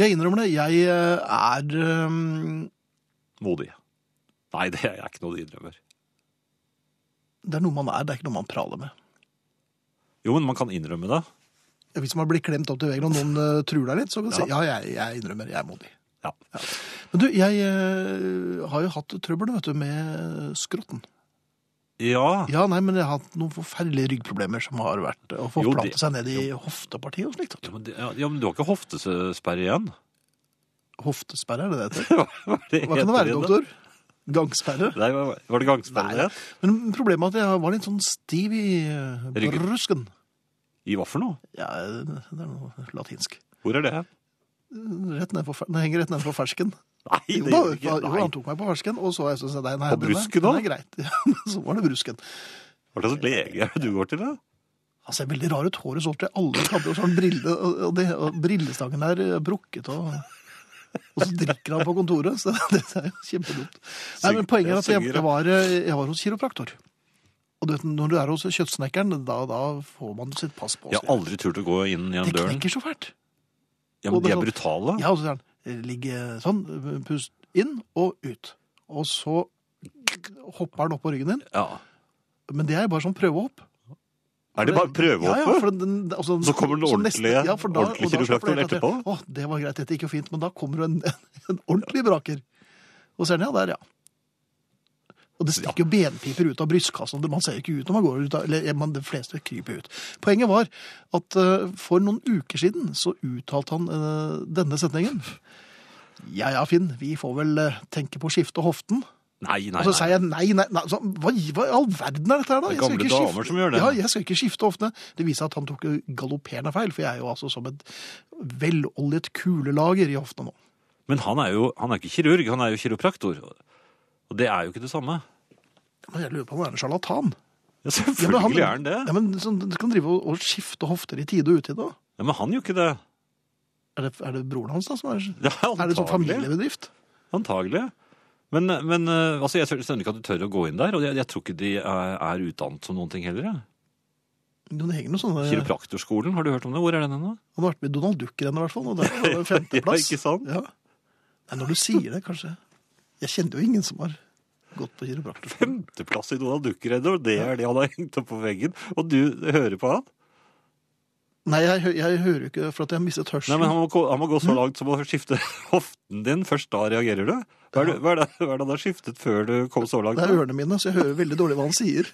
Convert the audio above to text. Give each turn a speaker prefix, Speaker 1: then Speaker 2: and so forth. Speaker 1: Jeg innrømmer det. Jeg eh, er ehm,
Speaker 2: Modig. Nei, det er ikke noe de innrømmer.
Speaker 1: Det er noe man er, det er ikke noe man praler med.
Speaker 2: Jo, men man kan innrømme det.
Speaker 1: Hvis man blir klemt opp til veggen og noen eh, truer deg litt, så kan du si ja, jeg, jeg innrømmer, jeg er modig.
Speaker 2: Ja.
Speaker 1: Men du, jeg eh, har jo hatt trøbbel vet du, med skrotten.
Speaker 2: ja.
Speaker 1: Ja, nei, men jeg har hatt noen forferdelige ryggproblemer som har vært å
Speaker 2: Jo, det-
Speaker 1: forplante seg ned i hoftepartiet og slikt. vet
Speaker 2: Ja,
Speaker 1: du.
Speaker 2: men, det- ja, men du har ikke hoftesperre igjen?
Speaker 1: Hoftesperre, er det det heter?
Speaker 2: Hva er det
Speaker 1: Hva kan det
Speaker 2: heter
Speaker 1: være, doktor? Gangsperre?
Speaker 2: Nei, hva- var det gangsperre
Speaker 1: Nei.
Speaker 2: det het?
Speaker 1: Men problemet er at jeg var litt sånn stiv i eh,
Speaker 2: Ryggen.
Speaker 1: brusken.
Speaker 2: I hva for noe?
Speaker 1: Ja, det er noe latinsk.
Speaker 2: Hvor er det? hen?
Speaker 1: Rett ned på, fer- det henger rett ned på fersken.
Speaker 2: Nei, det
Speaker 1: Jo, da, da,
Speaker 2: gjør det ikke.
Speaker 1: jo,
Speaker 2: Nei.
Speaker 1: han tok meg på fersken, og så jeg synes jeg, nei, nei,
Speaker 2: På
Speaker 1: den er-
Speaker 2: brusken
Speaker 1: den
Speaker 2: da?
Speaker 1: er greit. Ja, men så var det brusken.
Speaker 2: Hva slags lege er det du går til, da?
Speaker 1: Han ser veldig rar ut, håret sånn til alle kanter, og så har han brille, og, og det, og brillestangen er eh, brukket, og, og så drikker han på kontoret, så det, det er jo kjempedumt. Nei, men
Speaker 2: Synger-
Speaker 1: poenget er at jeg,
Speaker 2: synger, ja.
Speaker 1: jeg, var, eh, jeg var hos kiropraktor. Og du vet, når du er hos kjøttsnekkeren, da, da får man sitt pass på.
Speaker 2: Jeg har aldri turt å gå inn gjennom
Speaker 1: det
Speaker 2: døren.
Speaker 1: knekker så fælt.
Speaker 2: Ja, men
Speaker 1: Og det
Speaker 2: de er
Speaker 1: er
Speaker 2: brutale.
Speaker 1: Ja, og så sier han, ligg eh, sånn, pust inn og ut. Og så hopper han opp på ryggen din,
Speaker 2: Ja.
Speaker 1: men det er bare sånn prøvehopp.
Speaker 2: Er det bare prøvehoppe?
Speaker 1: Ja, ja, for den, altså,
Speaker 2: Så kommer den
Speaker 1: så neste-
Speaker 2: ordentlige-
Speaker 1: for da-
Speaker 2: ordentlige
Speaker 1: og da
Speaker 2: kiropraktoren
Speaker 1: slapper jeg helt av
Speaker 2: etterpå.
Speaker 1: til, Å, det var greit, dette gikk jo fint, men da kommer det en, en ordentlig braker. Og ser den, ja, der, ja. Og det stikker jo benpiper ut av brystkassen, og det- man ser jo ikke ut når man går ut, av- eller man, de fleste kryper ut. Poenget var at eh, for noen uker siden så uttalte han eh, denne setningen. Ja, ja, Finn, vi får vel eh, tenke på å skifte hoften.
Speaker 2: Nei, nei,
Speaker 1: Og så
Speaker 2: nei.
Speaker 1: sier jeg nei, nei, nei. Så, hva, hva i all verden er dette her, da? Jeg
Speaker 2: Det er
Speaker 1: skal
Speaker 2: gamle
Speaker 1: ikke
Speaker 2: damer som gjør det.
Speaker 1: Ja, jeg skal ikke skifte ofte. Det viser at han tok jo galopperende feil, for jeg er jo altså som et veloljet kulelager i hofta nå.
Speaker 2: Men han er jo han er ikke kirurg, han er jo kiropraktor. Og det er jo ikke det samme.
Speaker 1: Men jeg lurer på om han er en sjarlatan.
Speaker 2: Ja,
Speaker 1: Ja, men han-
Speaker 2: selvfølgelig er han det.
Speaker 1: Ja, men sånn, Du kan drive og, og skifte hofter i tide og utide òg.
Speaker 2: Ja, men han gjør ikke det.
Speaker 1: Er, det- er det broren hans da som er
Speaker 2: Ja,
Speaker 1: Er det sånn
Speaker 2: antagelig.
Speaker 1: familiebedrift?
Speaker 2: Antagelig. Men, men eh, altså, jeg skjønner ikke at du tør å gå inn der, og jeg, jeg tror ikke de er, er utdannet som noen ting heller. jeg.
Speaker 1: Noen henger noen sånne
Speaker 2: Kiropraktorskolen, har du hørt om det? Hvor er den henne?
Speaker 1: Han har vært med i Donald Duck-rennet, i hvert fall. Og der var det
Speaker 2: Ja,
Speaker 1: femteplass.
Speaker 2: ikke sant?
Speaker 1: Ja. Nei, når du sier det, kanskje Jeg kjenner jo ingen som har gått på kiropraktor.
Speaker 2: Femteplass i Donald Duck-reddet, og det er det han har hengt opp på veggen. Og du hører på han?
Speaker 1: Nei, jeg, hø- jeg hører jo ikke for at jeg har mistet hørselen.
Speaker 2: Nei, men han må, gå- han må gå så langt som å skifte hoften din. Først da reagerer du. Hva er det, hva er det, hva er det han har skiftet før du kom så langt?
Speaker 1: Det er ørene mine, så jeg hører veldig dårlig hva han sier.